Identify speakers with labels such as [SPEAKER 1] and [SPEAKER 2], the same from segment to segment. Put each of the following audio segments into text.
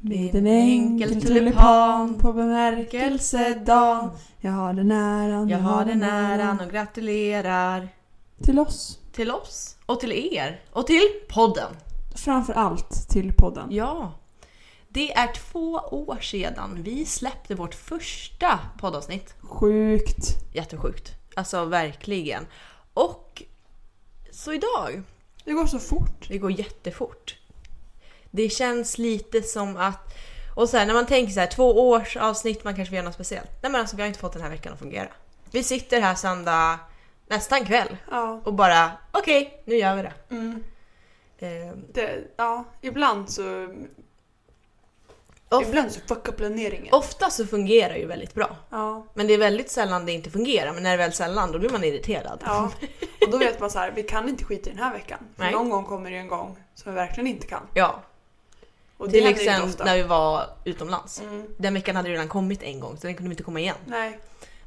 [SPEAKER 1] Vid en enkel tulipan på bemärkelsedagen Jag har den äran,
[SPEAKER 2] Jag har den äran och gratulerar
[SPEAKER 1] Till oss.
[SPEAKER 2] till oss och till er och till podden.
[SPEAKER 1] Framför allt till podden.
[SPEAKER 2] Ja, det är två år sedan vi släppte vårt första poddavsnitt.
[SPEAKER 1] Sjukt.
[SPEAKER 2] Jättesjukt, alltså verkligen. Och så idag,
[SPEAKER 1] Det går så fort.
[SPEAKER 2] det går jättefort. Det känns lite som att och så här, när man tänker så här, två års avsnitt, man kanske vill göra något speciellt. Nej men alltså vi har inte fått den här veckan att fungera. Vi sitter här söndag nästan kväll
[SPEAKER 1] Ja.
[SPEAKER 2] och bara okej, nu gör vi det. Eh,
[SPEAKER 1] Mm, Det, ja. Ibland så...
[SPEAKER 2] Of-
[SPEAKER 1] Ibland så fuckar planeringen.
[SPEAKER 2] ofta så fungerar ju väldigt bra.
[SPEAKER 1] Ja.
[SPEAKER 2] Men det är väldigt sällan det inte fungerar. Men när det väl sällan då blir man irriterad.
[SPEAKER 1] Ja. Och då vet man så här, vi kan inte skita i den här veckan. För
[SPEAKER 2] Nej.
[SPEAKER 1] någon gång kommer det en gång som vi verkligen inte kan.
[SPEAKER 2] Ja,
[SPEAKER 1] Och
[SPEAKER 2] till
[SPEAKER 1] händer inte ofta.
[SPEAKER 2] exempel när vi var utomlands.
[SPEAKER 1] Mm.
[SPEAKER 2] Den veckan hade det redan kommit en gång så den kunde vi inte komma igen.
[SPEAKER 1] Nej,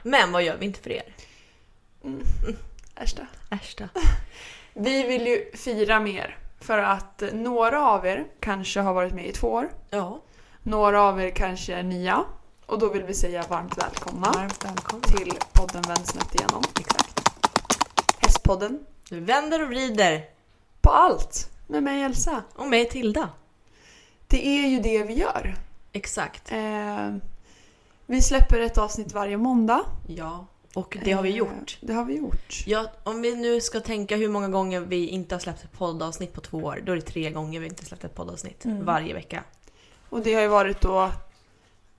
[SPEAKER 2] Men vad gör vi inte för er?
[SPEAKER 1] äsch det.
[SPEAKER 2] Äsch då.
[SPEAKER 1] Vi vill ju fira med er. För att några av er kanske har varit med i två år.
[SPEAKER 2] Ja,
[SPEAKER 1] Några av er kanske är nya. Och då vill vi säga varmt välkomna
[SPEAKER 2] varmt välkomna.
[SPEAKER 1] till podden Vänsnett igenom.
[SPEAKER 2] Exakt.
[SPEAKER 1] Hästpodden.
[SPEAKER 2] Du vänder och vrider.
[SPEAKER 1] På allt! Med mig Elsa.
[SPEAKER 2] Och med Tilda.
[SPEAKER 1] Det är ju det vi gör.
[SPEAKER 2] Exakt.
[SPEAKER 1] Eh, vi släpper ett avsnitt varje måndag.
[SPEAKER 2] Ja, och det har vi
[SPEAKER 1] Eh,
[SPEAKER 2] gjort.
[SPEAKER 1] Det har vi gjort.
[SPEAKER 2] Ja, om vi nu ska tänka hur många gånger vi inte har släppt ett poddavsnitt på två år, då är det tre gånger vi inte släppt ett poddavsnitt
[SPEAKER 1] Mm.
[SPEAKER 2] varje vecka.
[SPEAKER 1] Och det har ju varit då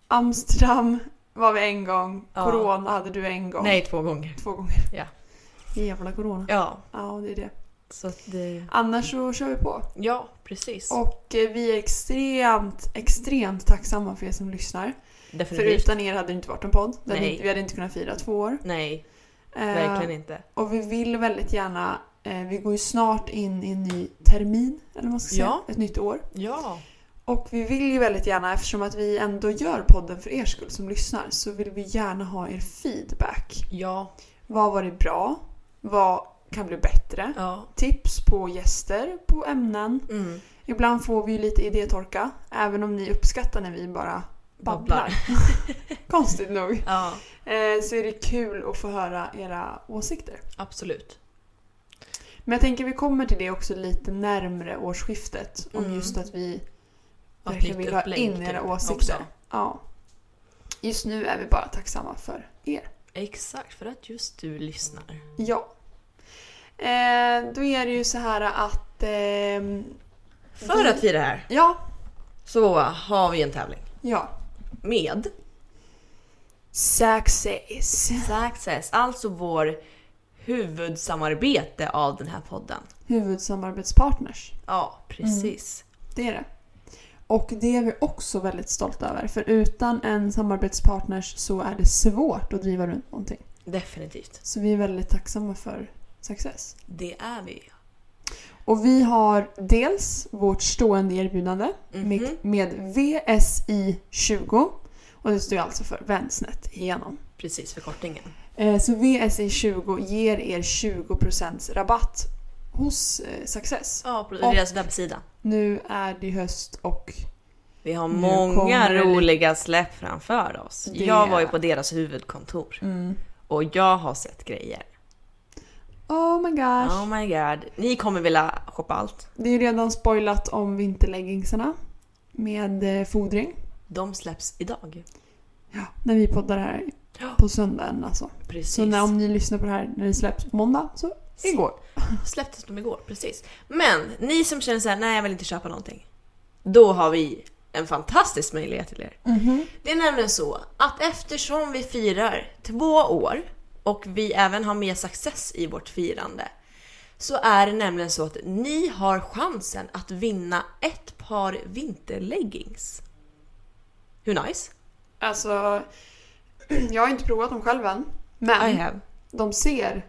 [SPEAKER 1] Amsterdam var vi en gång,
[SPEAKER 2] Ja.
[SPEAKER 1] Corona hade du en gång.
[SPEAKER 2] Nej, två gånger.
[SPEAKER 1] Två gånger.
[SPEAKER 2] Ja.
[SPEAKER 1] Jävla Corona.
[SPEAKER 2] Ja,
[SPEAKER 1] Ja, det är det.
[SPEAKER 2] så att det...
[SPEAKER 1] Annars så kör vi på.
[SPEAKER 2] Ja, precis.
[SPEAKER 1] Och eh, vi är extremt, extremt tacksamma för er som lyssnar. För
[SPEAKER 2] Definitivt.
[SPEAKER 1] utan er hade det inte varit en podd. Det hade
[SPEAKER 2] Nej.
[SPEAKER 1] inte- Vi hade inte kunnat fira två år.
[SPEAKER 2] Nej,
[SPEAKER 1] Eh,
[SPEAKER 2] verkligen inte.
[SPEAKER 1] Och vi vill väldigt gärna, eh, vi går ju snart in i en ny termin, eller vad man ska säga,
[SPEAKER 2] Ja.
[SPEAKER 1] ett nytt år.
[SPEAKER 2] Ja.
[SPEAKER 1] Och vi vill ju väldigt gärna, eftersom att vi ändå gör podden för er skull som lyssnar, så vill vi gärna ha er feedback.
[SPEAKER 2] Ja.
[SPEAKER 1] Vad var det bra? Vad kan bli bättre?
[SPEAKER 2] Ja.
[SPEAKER 1] Tips på gäster, på ämnen.
[SPEAKER 2] Mm.
[SPEAKER 1] Ibland får vi ju lite idétorka, även om ni uppskattar när vi bara babblar.
[SPEAKER 2] Babblar.
[SPEAKER 1] Konstigt nog.
[SPEAKER 2] Ja,
[SPEAKER 1] Eh, så är det kul att få höra era åsikter.
[SPEAKER 2] absolut.
[SPEAKER 1] Men jag tänker vi kommer till det också lite närmre årsskiftet. Om
[SPEAKER 2] Mm.
[SPEAKER 1] just att vi
[SPEAKER 2] Och ett
[SPEAKER 1] verkligen
[SPEAKER 2] nytt
[SPEAKER 1] vill ha
[SPEAKER 2] upplägg,
[SPEAKER 1] in era
[SPEAKER 2] typ,
[SPEAKER 1] åsikter.
[SPEAKER 2] också.
[SPEAKER 1] Ja. Just nu är vi bara tacksamma för er.
[SPEAKER 2] Exakt, för att just du lyssnar.
[SPEAKER 1] Ja. Eh, då är det ju så här att... ehm,
[SPEAKER 2] För
[SPEAKER 1] vi-
[SPEAKER 2] att fira det här
[SPEAKER 1] Ja,
[SPEAKER 2] så har vi en tävling.
[SPEAKER 1] ja.
[SPEAKER 2] Med
[SPEAKER 1] Success.
[SPEAKER 2] Success, alltså vår huvudsamarbete av den här podden.
[SPEAKER 1] Huvudsamarbetspartners.
[SPEAKER 2] Ja, precis.
[SPEAKER 1] Det är det. Och det är vi också väldigt stolta över. För utan en samarbetspartners så är det svårt att driva runt någonting.
[SPEAKER 2] Mm. Definitivt.
[SPEAKER 1] Så vi är väldigt tacksamma för Success.
[SPEAKER 2] Det är vi.
[SPEAKER 1] Och vi har dels vårt stående erbjudande
[SPEAKER 2] Mhm.
[SPEAKER 1] med, med VSI20. Och det står ju alltså för Vänsnet igenom.
[SPEAKER 2] Precis, förkortningen.
[SPEAKER 1] Eh, Så VSI20 ger er 20% rabatt hos eh, Success.
[SPEAKER 2] Ja, på
[SPEAKER 1] Och-
[SPEAKER 2] deras webbsida.
[SPEAKER 1] Nu är det höst och
[SPEAKER 2] Vi har
[SPEAKER 1] Nu
[SPEAKER 2] många
[SPEAKER 1] kommer det lite-
[SPEAKER 2] roliga släpp framför oss.
[SPEAKER 1] Det-
[SPEAKER 2] Jag var ju på deras huvudkontor och jag har sett grejer.
[SPEAKER 1] oh my gosh.
[SPEAKER 2] Oh my god. Ni kommer vilja shoppa allt.
[SPEAKER 1] Det är ju redan spoilat om vinterleggingsarna med eh, fodring.
[SPEAKER 2] De släpps idag.
[SPEAKER 1] Ja, när vi poddar här
[SPEAKER 2] Ja.
[SPEAKER 1] på söndagen alltså.
[SPEAKER 2] Precis.
[SPEAKER 1] Så när, om ni lyssnar på det här när det släpps på måndag så igår.
[SPEAKER 2] Släpptes de igår, precis. Men ni som känner så här, nej jag vill inte köpa någonting. Då har vi en fantastisk möjlighet till er. Det är nämligen så att eftersom vi firar två år och vi även har med success i vårt firande så är det nämligen så att ni har chansen att vinna ett par vinterleggings. Hur nice?
[SPEAKER 1] Alltså, jag har inte provat dem själv än. Men
[SPEAKER 2] I have.
[SPEAKER 1] de ser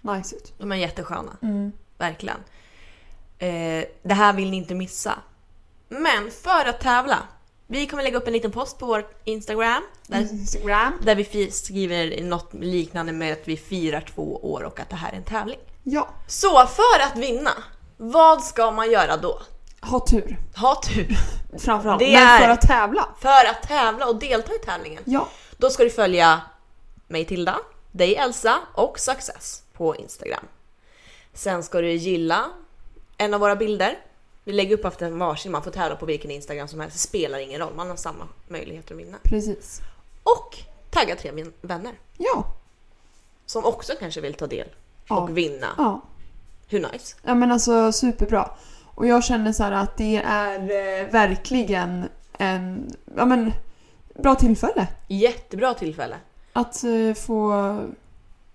[SPEAKER 1] nice ut. Mm.
[SPEAKER 2] De är jättesköna. Verkligen. Eh, det här vill ni inte missa. Men för att tävla, vi kommer lägga upp en liten post på vår Instagram där,
[SPEAKER 1] Mm. Instagram.
[SPEAKER 2] där vi fi- skriver något liknande med att vi firar två år och att det här är en tävling.
[SPEAKER 1] Ja.
[SPEAKER 2] Så för att vinna, vad ska man göra då?
[SPEAKER 1] Ha tur.
[SPEAKER 2] Ha tur!
[SPEAKER 1] Framförallt.
[SPEAKER 2] Det
[SPEAKER 1] Men
[SPEAKER 2] är-
[SPEAKER 1] för att tävla.
[SPEAKER 2] För att tävla och delta i tävlingen.
[SPEAKER 1] Ja.
[SPEAKER 2] Då ska du följa mig Tilda, dig Elsa och Success på Instagram. Sen ska du gilla en av våra bilder. Vi lägger upp efter en varsin, man får tävla på vilken Instagram som helst. Det spelar ingen roll, man har samma möjligheter att vinna.
[SPEAKER 1] Precis.
[SPEAKER 2] Och tagga tre vin- vänner
[SPEAKER 1] Ja.
[SPEAKER 2] som också kanske vill ta del
[SPEAKER 1] Ja.
[SPEAKER 2] och vinna.
[SPEAKER 1] ja.
[SPEAKER 2] Hur nice?
[SPEAKER 1] Ja men alltså superbra. Och jag känner så här att det är eh, verkligen en ja, men, bra tillfälle
[SPEAKER 2] Jättebra tillfälle.
[SPEAKER 1] att eh, få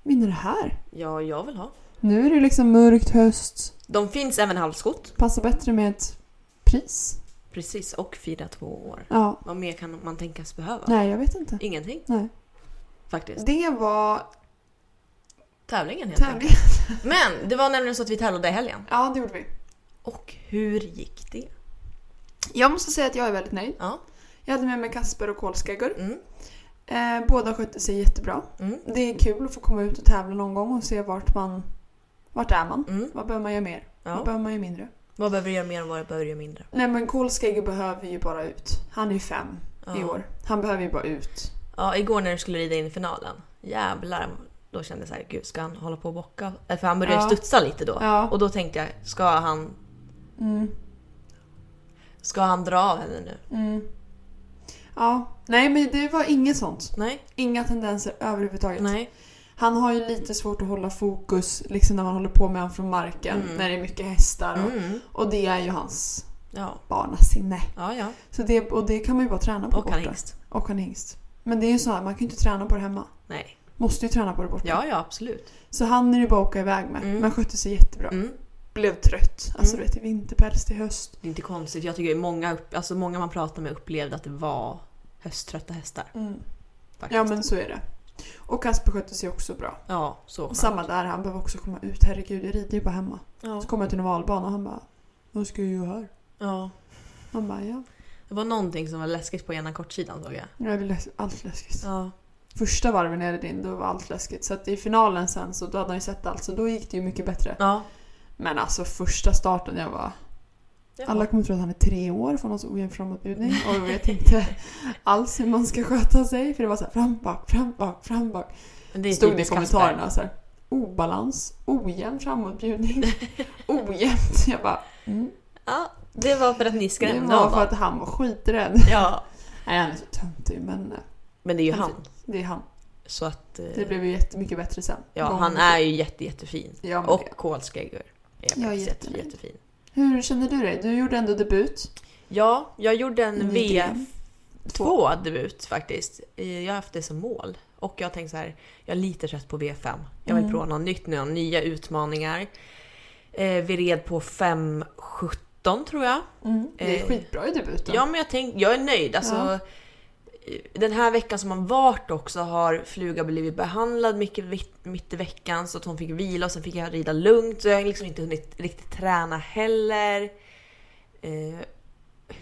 [SPEAKER 1] vinna det här.
[SPEAKER 2] Ja, jag vill ha.
[SPEAKER 1] Nu är det liksom mörkt höst.
[SPEAKER 2] De finns även halvskott.
[SPEAKER 1] Passar bättre med ett pris.
[SPEAKER 2] Precis, och fira två år.
[SPEAKER 1] Ja.
[SPEAKER 2] Vad mer kan man tänkas behöva?
[SPEAKER 1] Nej, jag vet inte.
[SPEAKER 2] Ingenting
[SPEAKER 1] Nej.
[SPEAKER 2] faktiskt.
[SPEAKER 1] Det var
[SPEAKER 2] Tävlingen helt enkelt.
[SPEAKER 1] tävlingen.
[SPEAKER 2] Men det var nämligen så att vi tävlade i helgen.
[SPEAKER 1] Ja, det gjorde vi.
[SPEAKER 2] Och hur gick det?
[SPEAKER 1] Jag måste säga att jag är väldigt nöjd.
[SPEAKER 2] Ja.
[SPEAKER 1] Jag hade med mig Kasper och kolskaggor.
[SPEAKER 2] Mm.
[SPEAKER 1] Eh, båda skötte sig jättebra.
[SPEAKER 2] Mm.
[SPEAKER 1] Det är kul att få komma ut och tävla någon gång och se vart man... Vart är man?
[SPEAKER 2] Mm.
[SPEAKER 1] Vad behöver man göra mer? Vad
[SPEAKER 2] Ja.
[SPEAKER 1] behöver man göra mindre?
[SPEAKER 2] Vad behöver du göra mer och vad behöver du göra mindre?
[SPEAKER 1] Nej men Kolskegge behöver ju bara ut. Han är ju fem
[SPEAKER 2] Ja.
[SPEAKER 1] i år. Han behöver ju bara ut.
[SPEAKER 2] Ja, igår när du skulle rida in i finalen. Jävlar. Då kände jag så här, gud ska han hålla på och bocka? Eh, För han började
[SPEAKER 1] Ja.
[SPEAKER 2] studsa lite då.
[SPEAKER 1] Ja.
[SPEAKER 2] Och då tänkte jag, ska han,
[SPEAKER 1] Mm,
[SPEAKER 2] ska han dra av henne nu?
[SPEAKER 1] mm. Ja, nej men det var inget sånt.
[SPEAKER 2] Nej,
[SPEAKER 1] Inga tendenser överhuvudtaget.
[SPEAKER 2] nej.
[SPEAKER 1] Han har ju lite svårt att hålla fokus liksom när man håller på med honom från marken.
[SPEAKER 2] Mm.
[SPEAKER 1] När det är mycket hästar. Och,
[SPEAKER 2] Mm.
[SPEAKER 1] och det är ju hans
[SPEAKER 2] Ja,
[SPEAKER 1] barnasinne.
[SPEAKER 2] ja, ja.
[SPEAKER 1] Så det, och det kan man ju bara träna på
[SPEAKER 2] Och han
[SPEAKER 1] borta.
[SPEAKER 2] hingst.
[SPEAKER 1] Och han är hingst. Men det är ju så här, man kan ju inte träna på det hemma.
[SPEAKER 2] Nej.
[SPEAKER 1] Måste ju träna på det borta.
[SPEAKER 2] Ja, ja absolut.
[SPEAKER 1] Så han är ju bara att åka iväg med.
[SPEAKER 2] Mm.
[SPEAKER 1] Men skötte sig jättebra.
[SPEAKER 2] Mm.
[SPEAKER 1] Blev trött. Alltså
[SPEAKER 2] Mm.
[SPEAKER 1] du vet, i vinterpäls till höst.
[SPEAKER 2] Det är inte konstigt. Jag tycker många, upp- alltså många man pratar med upplevde att det var hösttrötta hästar.
[SPEAKER 1] Mm.
[SPEAKER 2] Faktiskt.
[SPEAKER 1] Ja men så är det. Och Kasper skötte sig också bra.
[SPEAKER 2] ja, så
[SPEAKER 1] Och
[SPEAKER 2] skönt.
[SPEAKER 1] samma där, han behöver också komma ut. Herregud, jag rider ju bara hemma.
[SPEAKER 2] Ja.
[SPEAKER 1] Så kommer jag till en valbana och han bara Vad ska jag göra här?
[SPEAKER 2] ja.
[SPEAKER 1] Han bara ja.
[SPEAKER 2] Det var någonting som var läskigt på ena kortsidan såg jag.
[SPEAKER 1] Jag vill läs- allt läskigt.
[SPEAKER 2] Ja.
[SPEAKER 1] Första varven jag red in då var allt läskigt. Så att i finalen sen så då hade han ju sett allt så då gick det ju mycket bättre.
[SPEAKER 2] ja.
[SPEAKER 1] Men alltså första starten jag var Alla kommer tro att han är tre år från någon så ojämn framåtbjudning och jag vet inte alls hur man ska sköta sig. För det var så här fram, bak, fram, bak, fram, bak.
[SPEAKER 2] Men det är typ
[SPEAKER 1] stod det i
[SPEAKER 2] typiskt
[SPEAKER 1] kommentarerna så här, obalans, ojämn framåtbjudning, ojämnt. Jag bara, mm.
[SPEAKER 2] Kasper. Ja, det var för att ni
[SPEAKER 1] det
[SPEAKER 2] skrämde
[SPEAKER 1] var
[SPEAKER 2] honom.
[SPEAKER 1] för att han var skiträdd.
[SPEAKER 2] Ja.
[SPEAKER 1] Nej, han är så töntig men eh,
[SPEAKER 2] Men det är ju
[SPEAKER 1] Han-
[SPEAKER 2] han.
[SPEAKER 1] det är han.
[SPEAKER 2] Så att... eh,
[SPEAKER 1] Det blev ju jättemycket bättre sen.
[SPEAKER 2] Ja,
[SPEAKER 1] Gång-
[SPEAKER 2] han är ju jätte, jättefin.
[SPEAKER 1] Ja, men det.
[SPEAKER 2] Och kolskäggor. Är
[SPEAKER 1] Jag är
[SPEAKER 2] faktiskt jätte,
[SPEAKER 1] jättenöjd.
[SPEAKER 2] jättefin.
[SPEAKER 1] Hur känner du dig? Du gjorde ändå debut.
[SPEAKER 2] Ja, jag gjorde en
[SPEAKER 1] Ny
[SPEAKER 2] V2
[SPEAKER 1] gren.
[SPEAKER 2] debut faktiskt. Eh, Jag har haft det som mål. Och jag tänkte så här, jag är lite trött på V5. Jag vill
[SPEAKER 1] Mm.
[SPEAKER 2] prova något nytt nu, nya utmaningar. Eh, vi red på 5.17 tror jag.
[SPEAKER 1] Mm. Det är
[SPEAKER 2] Eh,
[SPEAKER 1] skitbra i debuten.
[SPEAKER 2] Ja, men jag, tänk, jag är nöjd. Alltså, eh,
[SPEAKER 1] Ja.
[SPEAKER 2] Den här veckan som har varit också har Fluga blivit behandlad mycket vitt- mitt i veckan så att hon fick vila och sen fick jag rida lugnt så jag har liksom inte hunnit riktigt träna heller. Eh,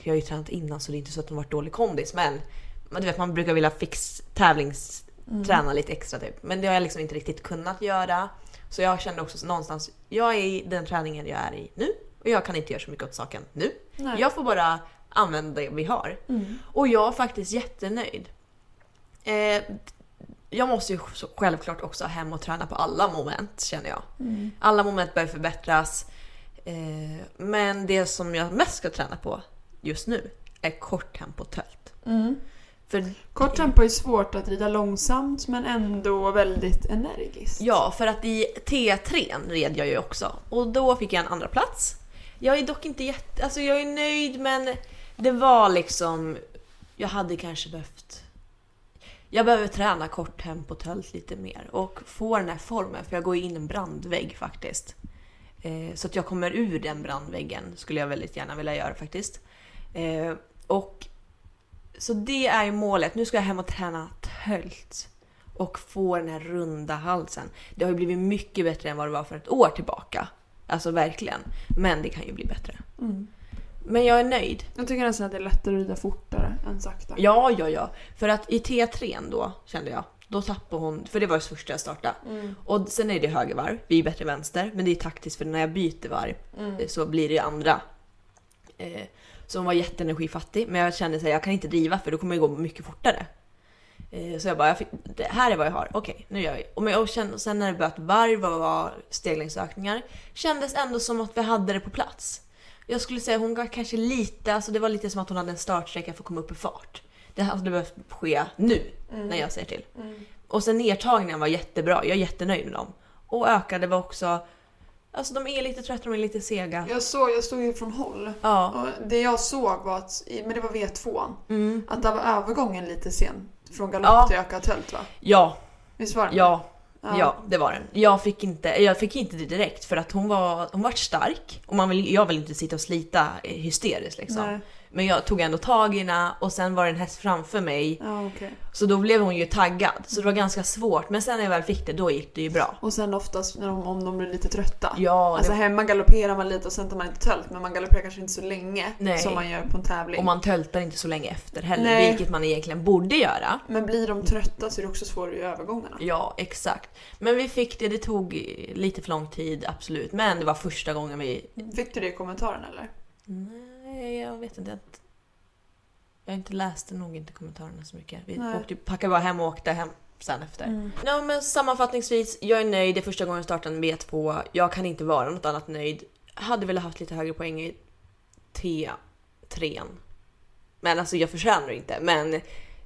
[SPEAKER 2] jag har ju tränat innan så det är inte så att hon varit dålig kondis men men du vet, man brukar vilja fix tävlingsträna
[SPEAKER 1] Mm.
[SPEAKER 2] lite extra typ. Men det har jag liksom inte riktigt kunnat göra. Så jag kände också så någonstans, jag är i den träningen jag är i nu och jag kan inte göra så mycket åt saken nu.
[SPEAKER 1] Nej.
[SPEAKER 2] Jag får bara använda det vi har.
[SPEAKER 1] Mm.
[SPEAKER 2] Och jag är faktiskt jättenöjd. Eh, jag måste ju så- självklart också hem och träna på alla moment känner jag.
[SPEAKER 1] Mm.
[SPEAKER 2] Alla moment bör förbättras. Eh, men det som jag mest ska träna på just nu är kort tempo tält.
[SPEAKER 1] Mm.
[SPEAKER 2] För,
[SPEAKER 1] Kort tempo är svårt att rida långsamt men ändå väldigt energiskt.
[SPEAKER 2] ja, för att i T3 red jag ju också och då fick jag en andra plats. Jag är dock inte jätte... Alltså jag är nöjd men det var liksom... Jag hade kanske behövt... Jag behöver träna kort tempo tält lite mer och få den här formen för jag går ju in i en brandvägg faktiskt. Eh, så att jag kommer ur den brandväggen skulle jag väldigt gärna vilja göra faktiskt. Eh, och Så det är ju målet. Nu ska jag hem och träna tölt och få den här runda halsen. Det har ju blivit mycket bättre än vad det var för ett år tillbaka. Alltså verkligen. Men det kan ju bli bättre.
[SPEAKER 1] Mm.
[SPEAKER 2] Men jag är nöjd.
[SPEAKER 1] Jag tycker nästan att det är lättare att rida fortare än sakta.
[SPEAKER 2] Ja, ja, ja. För att i T3 då kände jag, då tappade hon, för det var det första jag startade.
[SPEAKER 1] Mm.
[SPEAKER 2] Och sen är det högervarv, vi är bättre vänster, men Eh, det är taktiskt för när jag byter varv
[SPEAKER 1] Mm.
[SPEAKER 2] så blir det andra eh, som var jätteenergifattig. Men jag kände att jag kan inte driva för då kommer det gå mycket fortare. Eh, så jag bara, jag fick, det här är vad jag har, okej nu gör vi. Och, men, och, kände, och sen när det började varv och var steglängdsökningar kändes ändå som att vi hade det på plats. Jag skulle säga hon var kanske lite, alltså det var lite som att hon hade en startsträcka för att komma upp i fart. Det hade behövt ske nu, när jag säger till.
[SPEAKER 1] mm,
[SPEAKER 2] Och sen nedtagningen var jättebra, jag är jättenöjd med dem. Och ökade var också, alltså de är lite trötta, de är lite sega.
[SPEAKER 1] Jag såg, jag stod ju från håll.
[SPEAKER 2] Ja.
[SPEAKER 1] Och det jag såg var att, men det var V2,
[SPEAKER 2] Mm.
[SPEAKER 1] att där var övergången lite sen. Från galopp
[SPEAKER 2] Ja.
[SPEAKER 1] till ökat hölt va?
[SPEAKER 2] Ja,
[SPEAKER 1] Visst var det?
[SPEAKER 2] ja, ja, det var den. Jag fick inte, jag fick inte det direkt för att hon var, hon var stark och man vill, jag vill inte sitta och slita eh, hysteriskt liksom.
[SPEAKER 1] Nej.
[SPEAKER 2] Men jag tog ändå tag i henne och sen var det en häst framför mig
[SPEAKER 1] Ja, okej.
[SPEAKER 2] så då blev hon ju taggad. Så det var ganska svårt men sen när jag väl fick det då gick det ju bra.
[SPEAKER 1] Och sen oftast när de, om de blir lite trötta.
[SPEAKER 2] Ja,
[SPEAKER 1] Alltså
[SPEAKER 2] det,
[SPEAKER 1] hemma galopperar man lite och sen tar man ett tält men man galopperar kanske inte så länge
[SPEAKER 2] Nej.
[SPEAKER 1] som man gör på en tävling.
[SPEAKER 2] och man töltar inte så länge efter heller
[SPEAKER 1] Nej.
[SPEAKER 2] vilket man egentligen borde göra.
[SPEAKER 1] Men blir de trötta så är det också svårare i övergångarna.
[SPEAKER 2] Ja, exakt. Men vi fick det, det tog eh, lite för lång tid absolut men det var första gången vi
[SPEAKER 1] Fick du det i kommentaren eller?
[SPEAKER 2] Nej, jag vet inte. att- Jag har inte läste nog inte kommentarerna så mycket. Vi
[SPEAKER 1] Nej. Mm.
[SPEAKER 2] åkte, packade bara hem och åkte hem sen efter. Ja, men sammanfattningsvis, jag är nöjd. Det är första gången jag startar en B2. Jag kan inte vara något annat nöjd. Hade velat haft lite högre poäng i T3. Men alltså jag förtjänar det inte. Men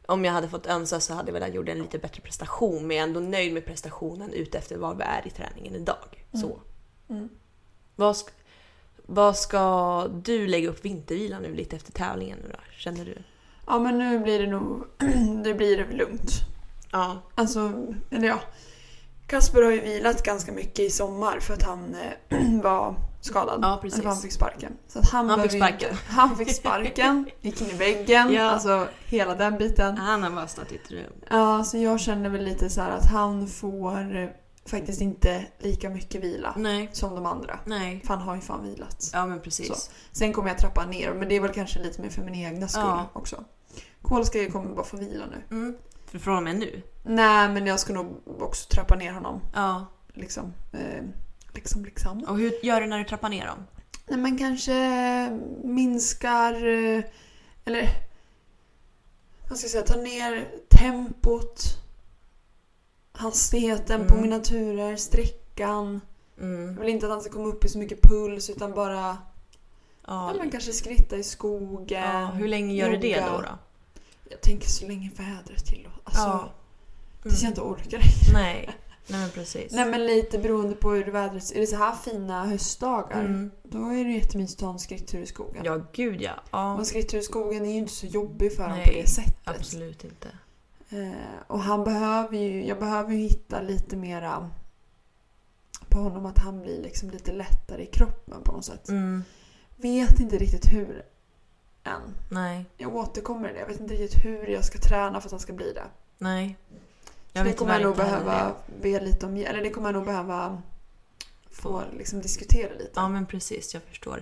[SPEAKER 2] om jag hade fått önska så hade jag velat gjort en lite bättre prestation. Men jag är ändå nöjd med prestationen utefter var vi är i träningen idag. Så.
[SPEAKER 1] Mm.
[SPEAKER 2] Vad, sk- vad ska du lägga upp vintervilan nu lite efter tävlingen nu då? Känner du?
[SPEAKER 1] Ja men nu blir det nog det blir lugnt.
[SPEAKER 2] Ja.
[SPEAKER 1] Alltså, eller ja. Kasper har ju vilat ganska mycket i sommar för att han eh, var skadad.
[SPEAKER 2] Ja, precis.
[SPEAKER 1] Eller han fick sparken. Så att han
[SPEAKER 2] Han fick
[SPEAKER 1] behöver ju inte- han fick sparken, gick in i väggen,
[SPEAKER 2] Ja.
[SPEAKER 1] alltså hela den biten.
[SPEAKER 2] Han har bara stått i ett rum.
[SPEAKER 1] Ja, så jag känner väl lite så här att han får eh, faktiskt inte lika mycket vila
[SPEAKER 2] Nej.
[SPEAKER 1] som de andra.
[SPEAKER 2] Nej.
[SPEAKER 1] För han har ju fan vilat.
[SPEAKER 2] Ja men precis.
[SPEAKER 1] Så. Sen kommer jag trappa ner, men det är väl kanske lite mer för min egna skull
[SPEAKER 2] Ja.
[SPEAKER 1] också. Kolska jag kommer bara få vila nu.
[SPEAKER 2] Mm. För från och med nu?
[SPEAKER 1] Nej, men jag ska nog också trappa ner honom.
[SPEAKER 2] Ja.
[SPEAKER 1] Liksom, eh, liksom, liksom.
[SPEAKER 2] Och hur gör du när du trappar ner dem?
[SPEAKER 1] Nej, men kanske minskar... eh, Eller... Vad ska jag säga? Ta ner tempot. Hastigheten på
[SPEAKER 2] Mm.
[SPEAKER 1] mina turer, sträckan. Jag
[SPEAKER 2] Mm.
[SPEAKER 1] vill inte att han ska komma upp i så mycket puls utan bara... Ja,
[SPEAKER 2] Ja.
[SPEAKER 1] men kanske skritta i skogen.
[SPEAKER 2] ja. Hur länge gör du det
[SPEAKER 1] yoga.
[SPEAKER 2] då? då?
[SPEAKER 1] Jag tänker så länge vädret tillåter. Alltså,
[SPEAKER 2] Ja.
[SPEAKER 1] tills jag
[SPEAKER 2] Mm.
[SPEAKER 1] inte orkar.
[SPEAKER 2] Nej. Nej men precis.
[SPEAKER 1] Nej men lite beroende på hur vädret... Är det så här fina höstdagar,
[SPEAKER 2] Mm.
[SPEAKER 1] då är det jättemysigt att ha en skrittur i skogen.
[SPEAKER 2] Ja gud ja. ja.
[SPEAKER 1] Och skrittur i skogen är ju inte så jobbig för honom
[SPEAKER 2] Nej,
[SPEAKER 1] på det sättet.
[SPEAKER 2] Absolut inte.
[SPEAKER 1] Eh, och han behöver ju, jag behöver ju hitta lite mera på honom att han blir liksom lite lättare i kroppen på något sätt.
[SPEAKER 2] Mm.
[SPEAKER 1] Vet inte riktigt hur än.
[SPEAKER 2] Nej.
[SPEAKER 1] Jag återkommer till det. Jag vet inte riktigt hur jag ska träna för att han ska bli det.
[SPEAKER 2] Nej.
[SPEAKER 1] Så det kommer jag
[SPEAKER 2] tyvärr
[SPEAKER 1] nog
[SPEAKER 2] heller
[SPEAKER 1] behöva
[SPEAKER 2] det.
[SPEAKER 1] be lite om Eller det kommer jag nog behöva få liksom diskutera lite.
[SPEAKER 2] Ja men precis, jag förstår.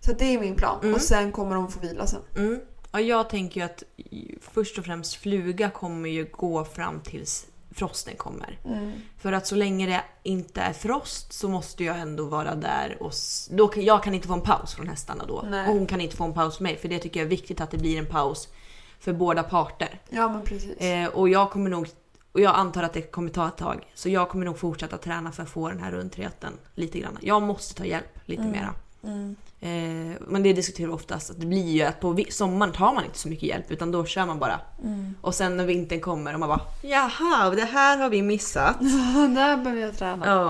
[SPEAKER 1] Så det är min plan.
[SPEAKER 2] Mm.
[SPEAKER 1] Och sen kommer de få vila sen.
[SPEAKER 2] Mm. Ja, jag tänker ju att först och främst fluga kommer ju gå fram tills frosten kommer. För att så länge det inte är frost så måste jag ändå vara där och s- då kan, jag kan inte få en paus från hästarna då.
[SPEAKER 1] Nej.
[SPEAKER 2] Och hon kan inte få en paus från mig för det tycker jag är viktigt att det blir en paus för båda parter.
[SPEAKER 1] Ja men precis.
[SPEAKER 2] Eh, och jag kommer nog, och jag antar att det kommer ta ett tag, så jag kommer nog fortsätta träna för att få den här rundtriaten lite grann. Jag måste ta hjälp lite
[SPEAKER 1] Mm.
[SPEAKER 2] mera.
[SPEAKER 1] Mm.
[SPEAKER 2] Eh, men det diskuterar vi oftast, att det blir ju att på vi- sommaren tar man inte så mycket hjälp utan då kör man bara.
[SPEAKER 1] Mm.
[SPEAKER 2] Och sen när vintern kommer och man bara Jaha, och det här har vi missat.
[SPEAKER 1] Där behöver jag träna
[SPEAKER 2] Ja.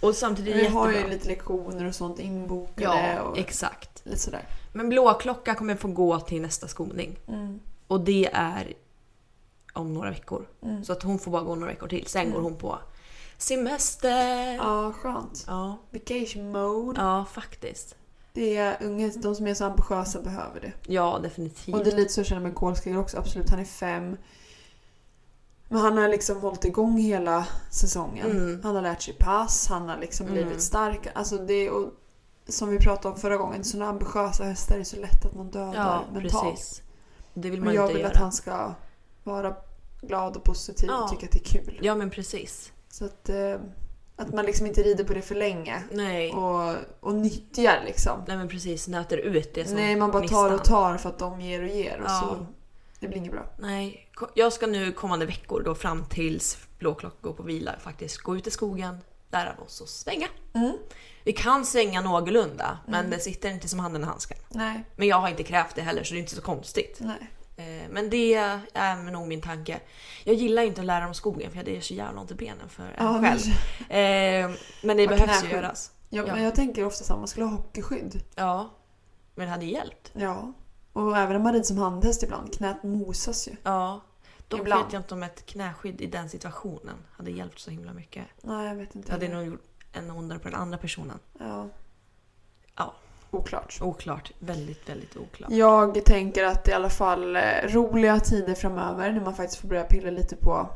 [SPEAKER 1] på.
[SPEAKER 2] Och samtidigt är det
[SPEAKER 1] Vi har ju
[SPEAKER 2] jättebra.
[SPEAKER 1] lite lektioner och sånt inbokade
[SPEAKER 2] Ja,
[SPEAKER 1] och
[SPEAKER 2] exakt.
[SPEAKER 1] lite sådär.
[SPEAKER 2] Men blåklocka kommer få gå till nästa skoning. Och det är om några veckor.
[SPEAKER 1] Mm.
[SPEAKER 2] Så att hon får bara gå några veckor till. Sen
[SPEAKER 1] Mm.
[SPEAKER 2] går hon på semester.
[SPEAKER 1] Ja, skönt.
[SPEAKER 2] Ja,
[SPEAKER 1] Vacation mode.
[SPEAKER 2] ja faktiskt.
[SPEAKER 1] Det är unga, de som är så ambitiösa behöver det.
[SPEAKER 2] Ja, definitivt.
[SPEAKER 1] Och det är lite så jag känner med Kolskager också. Absolut, han är fem. Men han har liksom hållit igång hela säsongen.
[SPEAKER 2] Mm.
[SPEAKER 1] Han har lärt sig pass, han har liksom
[SPEAKER 2] Mm.
[SPEAKER 1] blivit stark. Alltså det, och som vi pratade om förra gången, sådana ambitiösa hästar är så lätt att man dödar
[SPEAKER 2] ja,
[SPEAKER 1] mentalt.
[SPEAKER 2] precis. Det vill man
[SPEAKER 1] Men jag
[SPEAKER 2] inte
[SPEAKER 1] vill
[SPEAKER 2] göra.
[SPEAKER 1] att han ska vara glad och positiv
[SPEAKER 2] Ja.
[SPEAKER 1] och tycka att det är kul.
[SPEAKER 2] Ja, men precis.
[SPEAKER 1] Så att eh, Att man liksom inte rider på det för länge
[SPEAKER 2] Nej.
[SPEAKER 1] och, och nyttjar liksom.
[SPEAKER 2] Nej men precis, nöter ut det som
[SPEAKER 1] Nej, man bara tar och
[SPEAKER 2] gnistan.
[SPEAKER 1] tar för att de ger och ger och
[SPEAKER 2] Ja.
[SPEAKER 1] så. Det blir inget bra.
[SPEAKER 2] Nej, ko- jag ska nu kommande veckor då fram tills blåklocka går på vila faktiskt gå ut i skogen, lära oss att svänga.
[SPEAKER 1] Mm.
[SPEAKER 2] Vi kan svänga någorlunda men det sitter inte som handen i handsken.
[SPEAKER 1] Nej,
[SPEAKER 2] Men jag har inte krävt det heller så det är inte så konstigt.
[SPEAKER 1] nej.
[SPEAKER 2] Eh, Men det är nog min tanke. Jag gillar ju inte att lära om skogen för det gör så jävla ont i benen för en
[SPEAKER 1] Ja,
[SPEAKER 2] själv. Eh, Men det
[SPEAKER 1] Och
[SPEAKER 2] behövs ju
[SPEAKER 1] knäskydd.
[SPEAKER 2] göras.
[SPEAKER 1] Ja,
[SPEAKER 2] Ja.
[SPEAKER 1] Men jag tänker ofta att man skulle ha hockeyskydd.
[SPEAKER 2] Ja, men det hade ju hjälpt.
[SPEAKER 1] Ja. Och även om man rider som handhäst ibland, knät mosas ju.
[SPEAKER 2] Ja. Då
[SPEAKER 1] Ibland.
[SPEAKER 2] vet jag inte om ett knäskydd i den situationen hade hjälpt så himla mycket.
[SPEAKER 1] Nej, jag vet inte.
[SPEAKER 2] Det hade nog gjort en ondare på den andra personen.
[SPEAKER 1] Ja.
[SPEAKER 2] Ja.
[SPEAKER 1] Oklart.
[SPEAKER 2] Oklart. Väldigt, väldigt oklart.
[SPEAKER 1] Jag tänker att i alla fall eh, roliga tider framöver när man faktiskt får börja pilla lite på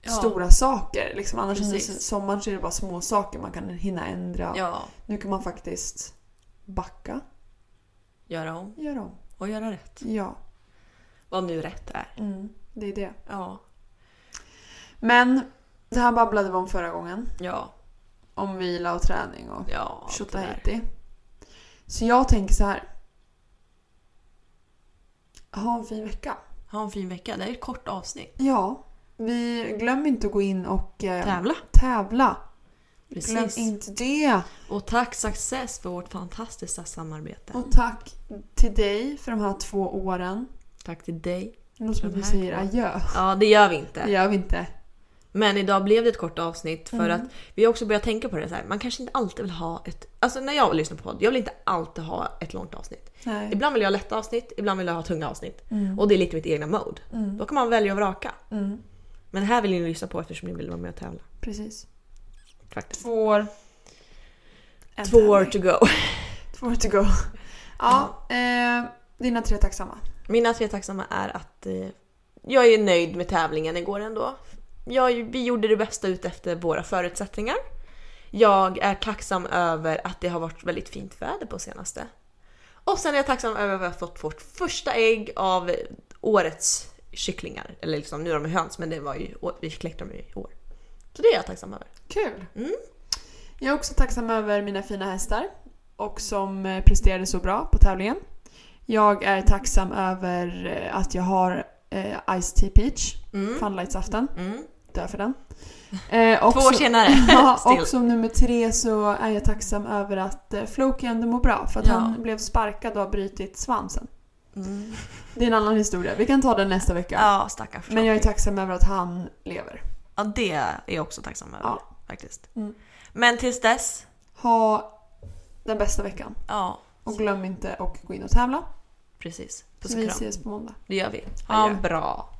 [SPEAKER 2] Ja.
[SPEAKER 1] stora saker. Liksom, annars under
[SPEAKER 2] Precis.
[SPEAKER 1] sommaren så är det bara små saker man kan hinna ändra.
[SPEAKER 2] Ja.
[SPEAKER 1] Nu kan man faktiskt backa,
[SPEAKER 2] Göra om
[SPEAKER 1] göra om.
[SPEAKER 2] och göra rätt.
[SPEAKER 1] Ja,
[SPEAKER 2] Vad nu rätt är.
[SPEAKER 1] mm, det är det.
[SPEAKER 2] Ja.
[SPEAKER 1] Men det här babblade vi om förra gången.
[SPEAKER 2] Ja.
[SPEAKER 1] Om vila och träning och
[SPEAKER 2] Ja. tyvärr.
[SPEAKER 1] tjottahejti. Så jag tänker så här. Ha en fin vecka.
[SPEAKER 2] Ha en fin vecka. Det här är ett kort avsnitt.
[SPEAKER 1] Ja. Vi, glöm inte att gå in och eh,
[SPEAKER 2] Tävla.
[SPEAKER 1] tävla. Glöm
[SPEAKER 2] Precis.
[SPEAKER 1] inte det.
[SPEAKER 2] Och tack Success för vårt fantastiska samarbete.
[SPEAKER 1] Och tack till dig för de här två åren.
[SPEAKER 2] Tack till dig.
[SPEAKER 1] Det låter som att
[SPEAKER 2] De
[SPEAKER 1] vi
[SPEAKER 2] här
[SPEAKER 1] säger
[SPEAKER 2] två.
[SPEAKER 1] adjö.
[SPEAKER 2] Ja, det gör vi
[SPEAKER 1] Det
[SPEAKER 2] inte.
[SPEAKER 1] gör vi inte.
[SPEAKER 2] Men idag blev det ett kort avsnitt för
[SPEAKER 1] Mm.
[SPEAKER 2] att vi har också börjat tänka på det så här. Man kanske inte alltid vill ha ett... Alltså när jag lyssnar på podd, jag vill inte alltid ha ett långt avsnitt.
[SPEAKER 1] Nej.
[SPEAKER 2] Ibland vill jag ha lätta avsnitt, ibland vill jag ha tunga avsnitt.
[SPEAKER 1] Mm.
[SPEAKER 2] Och det är lite mitt egna mode.
[SPEAKER 1] Mm.
[SPEAKER 2] Då kan man välja och vraka.
[SPEAKER 1] Mm.
[SPEAKER 2] Men det här vill ni lyssna på eftersom ni vill vara med och tävla.
[SPEAKER 1] Precis.
[SPEAKER 2] Faktiskt.
[SPEAKER 1] Två år. En
[SPEAKER 2] Två år
[SPEAKER 1] tävling.
[SPEAKER 2] to go.
[SPEAKER 1] Två år to go. Ja,
[SPEAKER 2] Mm.
[SPEAKER 1] eh, dina tre tacksamma.
[SPEAKER 2] Mina tre tacksamma är att eh, jag är nöjd med tävlingen igår ändå. Jag, vi gjorde det bästa ut efter våra förutsättningar. Jag är tacksam över att det har varit väldigt fint väder på senaste. Och sen är jag tacksam över att jag har fått vårt första ägg av årets kycklingar. Eller liksom, nu är de höns men det var ju, vi kläckte dem ju i år. Så det är jag tacksam över.
[SPEAKER 1] Kul.
[SPEAKER 2] Mm.
[SPEAKER 1] Jag är också tacksam över mina fina hästar och som eh, presterade så bra på tävlingen. Jag är tacksam över eh, att jag har eh, Ice Tea Peach,
[SPEAKER 2] Mm.
[SPEAKER 1] funlightsaften.
[SPEAKER 2] Mm.
[SPEAKER 1] Dö för den. Eh, och
[SPEAKER 2] Två år
[SPEAKER 1] så-
[SPEAKER 2] senare.
[SPEAKER 1] Ja,
[SPEAKER 2] Still.
[SPEAKER 1] och som nummer tre så är jag tacksam över att eh, Floki ändå mår bra för att
[SPEAKER 2] Ja.
[SPEAKER 1] han blev sparkad och har brutit svansen.
[SPEAKER 2] Mm.
[SPEAKER 1] Det är en annan historia, vi kan ta den nästa vecka.
[SPEAKER 2] Ja, stackars
[SPEAKER 1] Men jag är tacksam över att han lever.
[SPEAKER 2] Ja, det är jag också tacksam över
[SPEAKER 1] Ja.
[SPEAKER 2] faktiskt.
[SPEAKER 1] Mm.
[SPEAKER 2] Men tills dess,
[SPEAKER 1] Ha den bästa veckan.
[SPEAKER 2] ja
[SPEAKER 1] Och glöm inte att gå in och tävla.
[SPEAKER 2] precis. Puss
[SPEAKER 1] Så
[SPEAKER 2] och
[SPEAKER 1] vi
[SPEAKER 2] kram.
[SPEAKER 1] ses på måndag.
[SPEAKER 2] Det gör vi.
[SPEAKER 1] Adjö.
[SPEAKER 2] Ha en bra